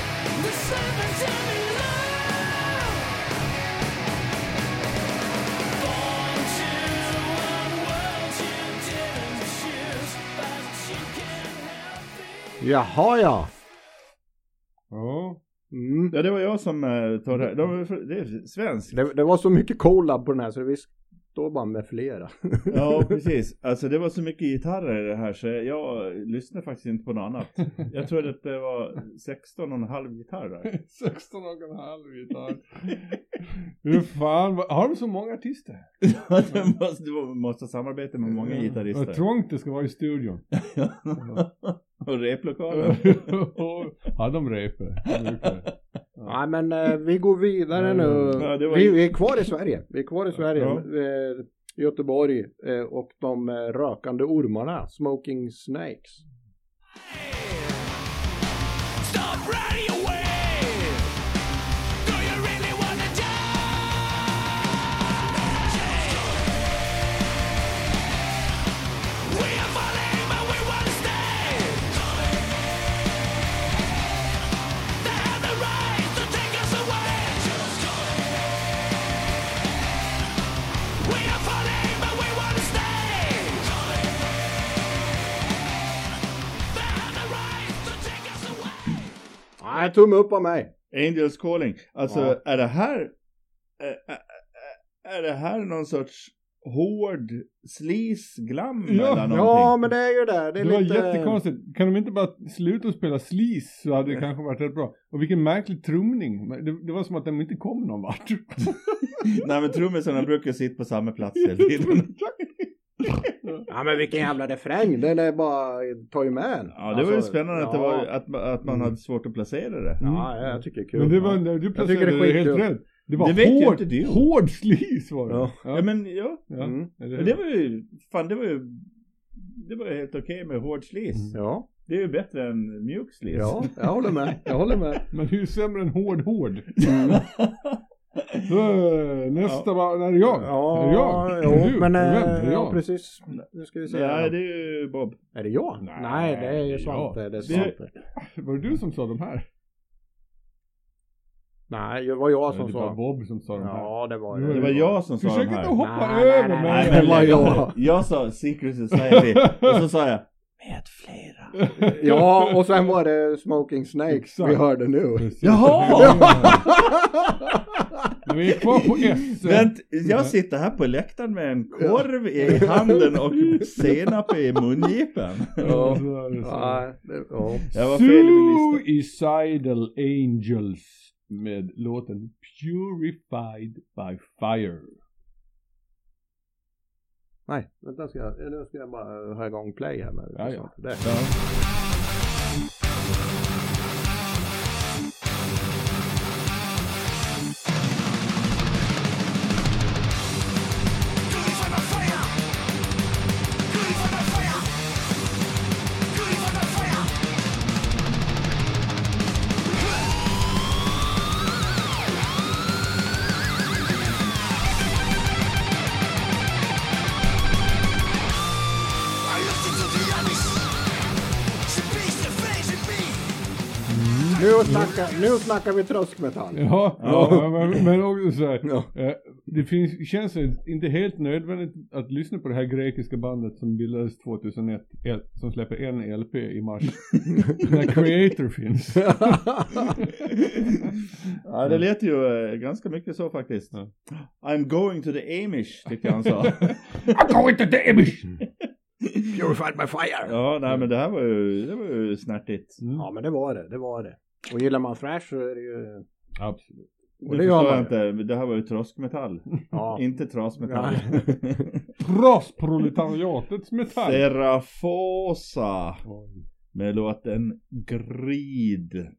S4: Tell me love Born to a world you didn't choose But you can't help it
S1: Jaha ja.
S3: Ja.
S1: Mm.
S2: Ja det var jag som eh, tog det här. De, är fr- det är svenskt.
S1: Det, det var så mycket collab på den här så vi står bara med flera.
S2: Ja precis. Alltså det var så mycket gitarrer i det här så jag lyssnade faktiskt inte på något annat. Jag tror att det var 16 och en halv gitarr där.
S3: 16 och en halv gitarr. Hur fan, vad- har de så många artister?
S2: Ja, det måste, du måste samarbeta med många gitarrister.
S3: Vad trångt det ska vara i studion.
S2: och replokalen.
S3: Hade de repe?
S1: Nej men eh, vi går vidare
S3: Ja,
S1: nu.
S2: ja, det var
S1: vi,
S2: ju-
S1: vi är kvar i Sverige. Vi är kvar i Sverige.
S2: Ja.
S1: Eh, Göteborg eh, och de eh, rökande ormarna, Smoking Snakes.
S4: Stop right away. Do you really wanna die? We are falling, but we won't stay. They have the right to take us away. We are falling, but we won't stay. They have the right to take us away.
S1: Nej, tumme upp av mig.
S2: Angels calling. Alltså
S1: Ja.
S2: är det här... Är, är- är det här någon sorts hård sleaze-glam
S3: Ja,
S2: eller någonting?
S1: Ja, men det är ju det. Det
S3: Det
S1: är
S3: var
S1: lite...
S3: jättekonstigt. Kan de inte bara sluta spela slis så hade det kanske varit rätt bra. Och vilken märklig trumning. Men Det, det var som att de inte kom någon vart.
S2: Nej men trummisarna brukar sitta på samma plats hela tiden.
S1: Ja, men vilken jävla refräng. Den är bara... Ta ju med en.
S2: Ja det var ju
S1: Alltså,
S2: spännande att, det
S1: ja.
S2: var, att, ma- att man
S3: Mm.
S2: hade svårt att placera det.
S1: Ja, jag tycker det är kul.
S3: Men det var,
S1: Ja.
S3: du
S1: Jag tycker det
S3: placerade
S1: är
S3: det helt
S1: skitkul.
S3: rätt. Det var
S2: Det vet ju
S3: hård,
S2: inte du.
S3: hård slis var det.
S2: Ja.
S3: Ja.
S2: ja men ja.
S3: Ja.
S1: Mm.
S3: Eller
S2: Men
S3: hur?
S2: det var ju, fan det var ju, det var ju helt okej med hård sleaze.
S1: Ja,
S2: Det är ju bättre än mjuk sleaze.
S1: ja, jag håller med. Jag håller med.
S3: Men hur sämre än hård hård?
S1: Mm.
S3: Så, nästa ja. var, när är det jag? är det jag? Är det
S1: jo,
S3: du?
S1: men...
S3: Är det
S1: eh,
S3: vem? Är
S1: ja,
S3: det jag?
S1: precis. Nu ska vi se.
S2: Nej det är ju Bob.
S1: Är det jag?
S3: Nej,
S1: Nej, det är
S3: det är
S1: ju Svante. Det är
S2: Det-
S1: Svante.
S3: Var det du som sa de här?
S1: Nej, det var jag
S3: Eller
S1: som
S3: det var
S1: sa.
S3: Bob som sa de här. Mm.
S1: Ja, det var
S3: Det var
S2: Det var jag som sa
S3: Försök
S2: de här.
S3: inte hoppa
S1: Nej, nej,
S3: över
S1: nej,
S3: mig.
S1: nej,
S2: Nej,
S1: men vad jag-
S2: jag. jag sa Secret Society och så sa jag med flera.
S1: Ja, och sen var det Smoking Snakes
S3: Exakt.
S1: vi hörde nu.
S3: Precis.
S2: Jaha!
S3: Men vi är kvar på S.
S2: Vänt, jag sitter här på läktaren med en korv i handen och senap i mungipan.
S3: Ja, så är det så.
S1: Ja, det, ja.
S2: Jag var fel i min lista.
S3: Suicidal Angels med låten Purified by Fire.
S1: Nej, vänta ska jag, nu ska jag bara ha igång play här med
S3: Ja, ja.
S1: Det.
S4: I listen to the others. She beats the face in me.
S1: Nu snackar, nu snackar vi tröskmetall.
S3: Ja,
S2: Ja.
S3: Men, men också så här.
S1: Ja.
S3: eh, Det finns, känns inte helt nödvändigt att lyssna på det här grekiska bandet som bildades 2001, el, som släpper en LP i mars. när Creator finns.
S2: Ja, det lät ju eh, ganska mycket så faktiskt. I'm going to the Amish, tyckte jag han sa.
S3: I'm going to the Amish!
S1: Purified by fire.
S2: Ja, nej men det här var ju, det var ju snärtigt.
S3: Mm.
S1: Ja men det var det, det var det. Och gillar man thrash så är det ju...
S3: Absolut.
S1: Och
S2: det
S1: det gör
S2: förstår jag
S1: man ju.
S2: inte, det här var ju tröskmetall.
S1: Ja.
S2: Inte trasmetall.
S3: Trasproletariatets metall.
S2: Serafosa
S3: Oj.
S2: med låten Grid.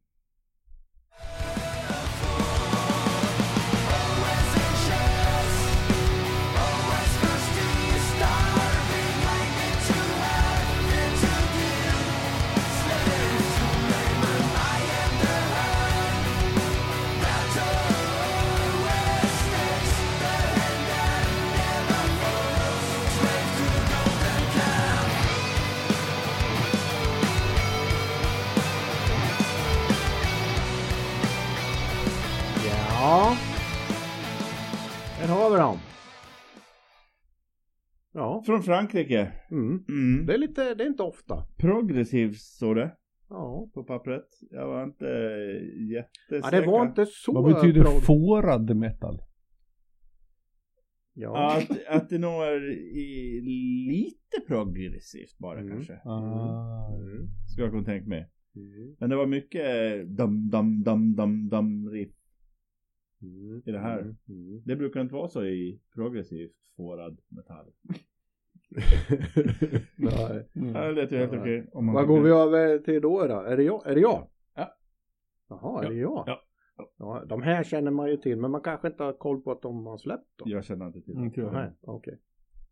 S1: Ja. Där har vi dem. Ja.
S2: Från Frankrike.
S1: Mm.
S2: Mm.
S1: Det är lite, det är inte ofta.
S2: Progressiv står det
S1: Ja.
S2: på pappret. Jag var inte
S1: ja
S2: jättesäker.
S1: det var inte så
S3: Vad betyder
S1: bra.
S3: fårad metal?
S1: Ja.
S2: Att, att det nog är i, lite progressivt bara
S1: Mm.
S2: kanske.
S3: Ah.
S1: Mm.
S2: Skulle jag kunna tänka mig.
S1: Mm.
S2: Men det var mycket eh, dam dam dam dam dam riff.
S1: Mm.
S2: I det här.
S1: Mm. Mm.
S2: Det brukar inte vara så i progressivt fårad metall.
S1: Nej.
S3: Mm.
S2: Ja, Det lät ju helt
S1: Ja.
S2: okej. om man
S1: Vad
S2: tycker.
S1: går vi över till då då? Är det jag? Är det jag?
S3: Ja.
S1: Jaha,
S3: Ja.
S1: är det jag?
S3: Ja.
S1: Ja, de här känner man ju till, men man kanske inte har koll på att de har släppt dem.
S2: Jag känner inte till det.
S3: Mm, kul.
S1: Nej, okej.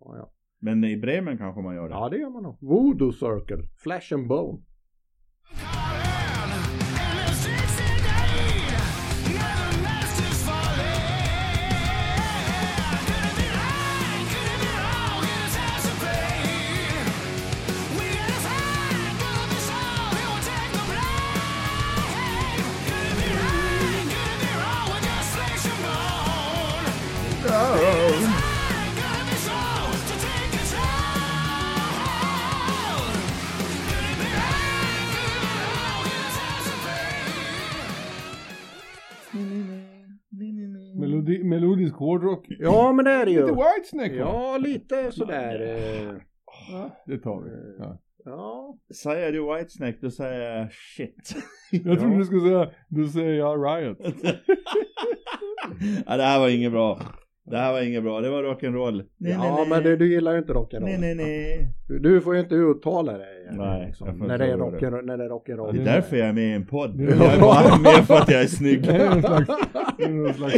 S1: Ja, ja.
S2: Men i Bremen kanske man gör det.
S1: ja, det gör man nog. Voodoo Circle, Flash and Bone.
S3: Melodi, melodisk hårdrock.
S1: Ja, men det är det
S3: Lite
S1: ju.
S3: Whitesnake va?
S1: Ja, lite sådär. eh,
S3: Det tar vi. Ja.
S1: Ja,
S2: Säger du Whitesnake, då säger jag shit.
S3: Jag trodde du skulle säga, du säger jag Riot.
S2: ja, det här var inget bra. Det här var inget bra. Det var rock'n'roll. Nej,
S1: ja men du, du gillar ju inte
S2: Nej,
S1: rock'n'roll.
S2: nej, nej.
S1: Du, du får ju inte uttala dig.
S2: Nej,
S1: liksom,
S2: jag får
S1: när,
S2: inte
S1: det är
S2: göra det.
S1: rock'n'roll, när det är rock'n'roll.
S2: Det är därför jag är med i en podd.
S3: Ja.
S2: Jag är bara med för att jag är snygg.
S3: Det är någon slags, det är någon slags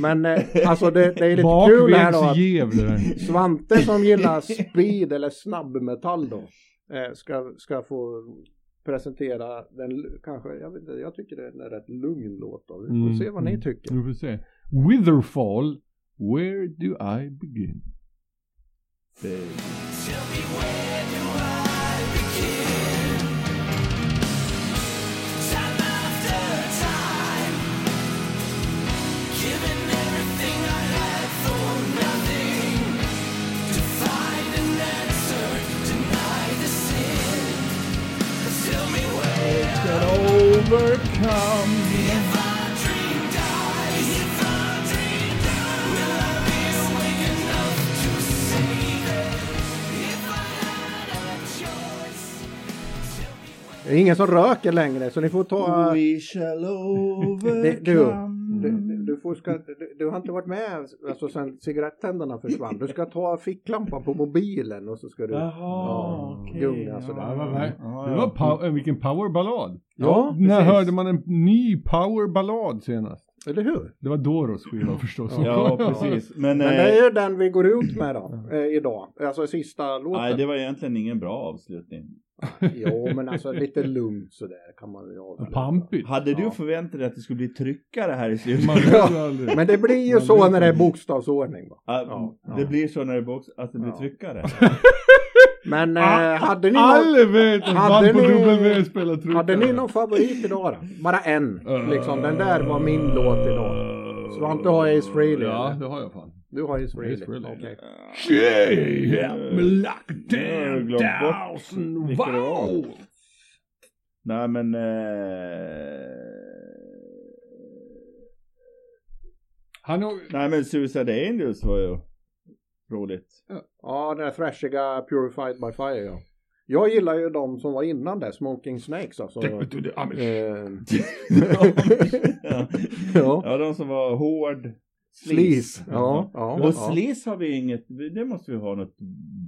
S1: Men eh, alltså det, det är lite kul här då. Att,
S3: bakvägsjäv det där.
S1: Svante som gillar speed eller snabbmetall då eh, ska, ska få presentera den l- kanske, jag vet inte, jag tycker det är en rätt lugn låt då. Vi får
S3: Mm,
S1: se vad
S3: mm.
S1: ni tycker.
S3: Nu får vi se. Witherfall, where do I begin?
S1: Det är ingen som röker längre så ni får ta...
S2: We shall
S1: Det, du,
S2: overcome.
S1: du, du, får, ska, du, du har inte varit med alltså, sen cigarettänderna försvann. Du ska ta ficklampan på mobilen och så ska du...
S2: Jaha,
S1: Ja,
S2: okej.
S1: gunga sådär.
S3: Ja, vad-
S2: ja,
S3: Det var pow- eh, vilken powerballad.
S1: Ja,
S3: När
S1: precis.
S3: hörde man en ny powerballad senast?
S1: Eller hur?
S3: Det var Doros skiva förstås.
S2: Ja, precis. Men,
S1: Men
S2: eh,
S1: det är ju den vi går ut med då, eh, idag. Alltså sista låten.
S2: nej, det var egentligen ingen bra avslutning.
S1: Jo, men alltså lite lugnt sådär kan man ju avsluta.
S3: Pampigt.
S2: Hade du
S1: Ja.
S2: förväntat dig att det skulle bli tryckare här i slutet?
S3: Man vet ju aldrig.
S1: Men det blir ju så när det är bokstavsordning. Va?
S2: Ja,
S1: Ja,
S2: det
S1: ja.
S2: blir så när det box, att det blir
S1: Ja.
S2: tryckare.
S1: Men eh,
S3: Ah,
S1: hade, ni någon,
S3: Alla vet att
S1: Hade
S3: man på
S1: ni-
S3: W E spelar trummor.
S1: hade ni någon favorit idag då? Bara en. Liksom, den där var min låt idag. Så du har inte ha Ace Frehley,
S3: Ja,
S1: eller?
S3: det har jag fan.
S1: Du har Ace Frehley.
S3: Ace Frehley.
S1: Okej.
S2: Vilka det var. Nej men... Eh...
S3: Han har...
S2: Nej men Suicide Angels var ju roligt.
S1: Ja, den där thrashiga Purified by Fire ja. Jag gillar ju de som var innan det, Smoking Snakes alltså.
S3: Take me to the Amish.
S1: Eh,
S2: ja.
S1: ja.
S2: ja, de som var hård.
S1: Sleaze. Ja, ja,
S2: Och
S1: ja.
S2: slis har vi inget, det måste vi ha något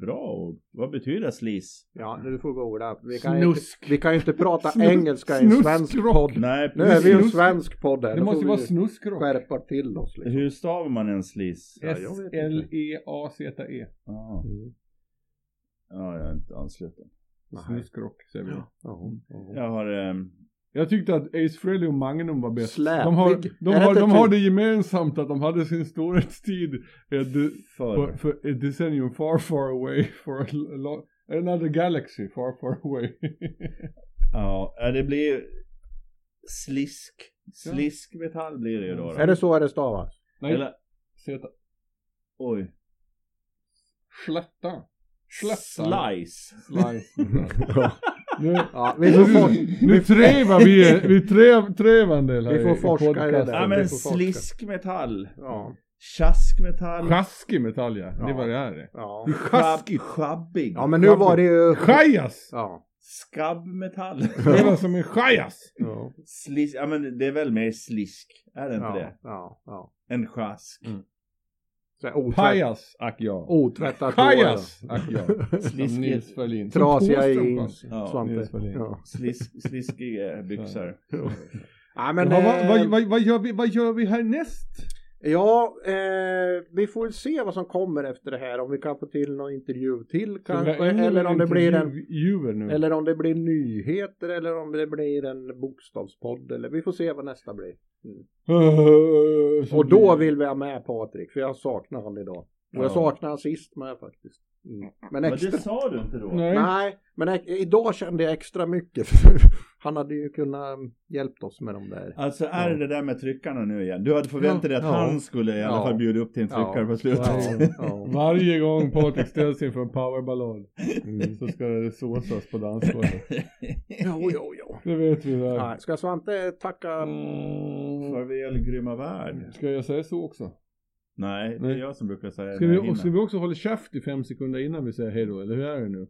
S2: bra ord. Vad betyder slis?
S1: Ja, nu får vi googla. Vi kan, ju inte,
S3: Snusk.
S1: vi kan ju inte prata
S3: Snus-
S1: engelska i en svensk
S3: snuskrock.
S1: podd.
S2: Nej,
S1: Nu är vi ju en
S3: Snusk.
S1: svensk podd här.
S3: Det
S1: Då
S3: måste
S1: får
S3: vara
S1: vi
S3: snuskrock.
S1: skärpa till oss. Liksom.
S2: hur stavar man en slis?
S1: Ja, jag vet inte.
S3: E S-L-E-A-Z-E.
S2: Ah.
S1: Mm.
S2: Ja, jag är inte ansluten.
S1: Nej.
S3: Snuskrock säger vi.
S1: Ja, ja.
S2: Jag har... ehm,
S3: Jag tyckte att Ace Frehley och Magnum var bäst.
S1: Släpig.
S3: De har, de,
S1: Är det
S3: har,
S1: inte
S3: de har
S1: typ-
S3: det gemensamt att de hade sin storhetstid eh, de, för,
S2: för.
S3: för ett decennium far far away. For a lo, another galaxy far far away.
S2: Ja, ja, det blir slisk. Sliskmetall blir det ju då. då.
S1: Är det så det stavas?
S3: Nej,
S2: Eller,
S3: Z.
S2: oj.
S3: Slätta. Slätta.
S2: Slice.
S3: Slice. nu,
S1: Ja, vi får, for-
S3: nu trevar vi, vi trev, trevar en del här
S1: Vi får
S3: i- i
S1: forska i det
S3: podcasten.
S1: där.
S2: Ja
S1: Ja,
S2: men
S1: det får folk-
S2: sliskmetall.
S1: ja,
S2: Tjaskmetall.
S3: Sjaskig metall ja, det
S1: Ja.
S3: var det här.
S1: ja.
S2: Sjaskigt. Sjabbig.
S1: ja, men nu var det ju...
S3: Chajas!
S1: Ja.
S2: Skabbmetall.
S3: Det var som en chajas!
S1: Ja,
S2: Slisk. Ja men det är väl mer slisk. Är det inte
S1: ja, Mm.
S2: det?
S1: ja, ja.
S2: En sjask.
S1: Så här otvätt-
S3: Pajas, ack ja.
S1: Otvättat
S3: Pajas,
S1: hår.
S3: ack ja. Som Nils Ferlin. Som
S1: Trasiga
S3: Thåström,
S1: jeans.
S3: alltså.
S2: Ja,
S1: Svante.
S3: Nils Wallin.
S1: Ja.
S2: Slisk, sliskiga byxor.
S1: Ja, men,
S3: Men ja,
S1: eh,
S3: vad, vad, vad, vad, gör vi, vad gör vi härnäst?
S1: ja eh, vi får väl se vad som kommer efter det här. Om vi kan få till någon intervju till kanske. Eller om det blir en...
S3: Intervjuer nu.
S1: Eller om det blir nyheter eller om det blir en bokstavspodd. Eller, vi får se vad nästa blir.
S3: Eh, så
S1: Och då
S3: blir-
S1: vill vi ha med Patrik, för jag saknar han idag. Och jag
S2: Ja.
S1: saknar han sist med faktiskt. Mm. Men
S2: Men det
S1: extra...
S2: sa du inte då.
S3: Nej.
S1: Nej, men ek- idag kände jag extra mycket. För han hade ju kunnat hjälpt oss med de där.
S2: Alltså
S1: Ja.
S2: är det det där med tryckarna nu igen? Du hade förväntat dig att
S1: Ja.
S2: han skulle i alla
S1: Ja.
S2: fall bjuda upp till en tryckare på slutet.
S1: Ja, ja.
S3: Varje gång Patrik ställs inför en powerballad
S1: Mm.
S3: så ska det såsas på dansgolvet.
S1: Jo, jo, jo.
S3: Det vet vi väl.
S1: Nej, ska Svante tacka?
S3: Mm.
S2: Farväl grymma värld.
S3: Ska jag säga så också?
S2: Nej, det är
S3: Nej.
S2: jag som brukar säga
S3: Ska
S2: när
S3: vi,
S2: jag
S3: och ska
S2: hinner.
S3: vi också hålla käft i fem sekunder innan vi säger hej då, eller hur är det nu?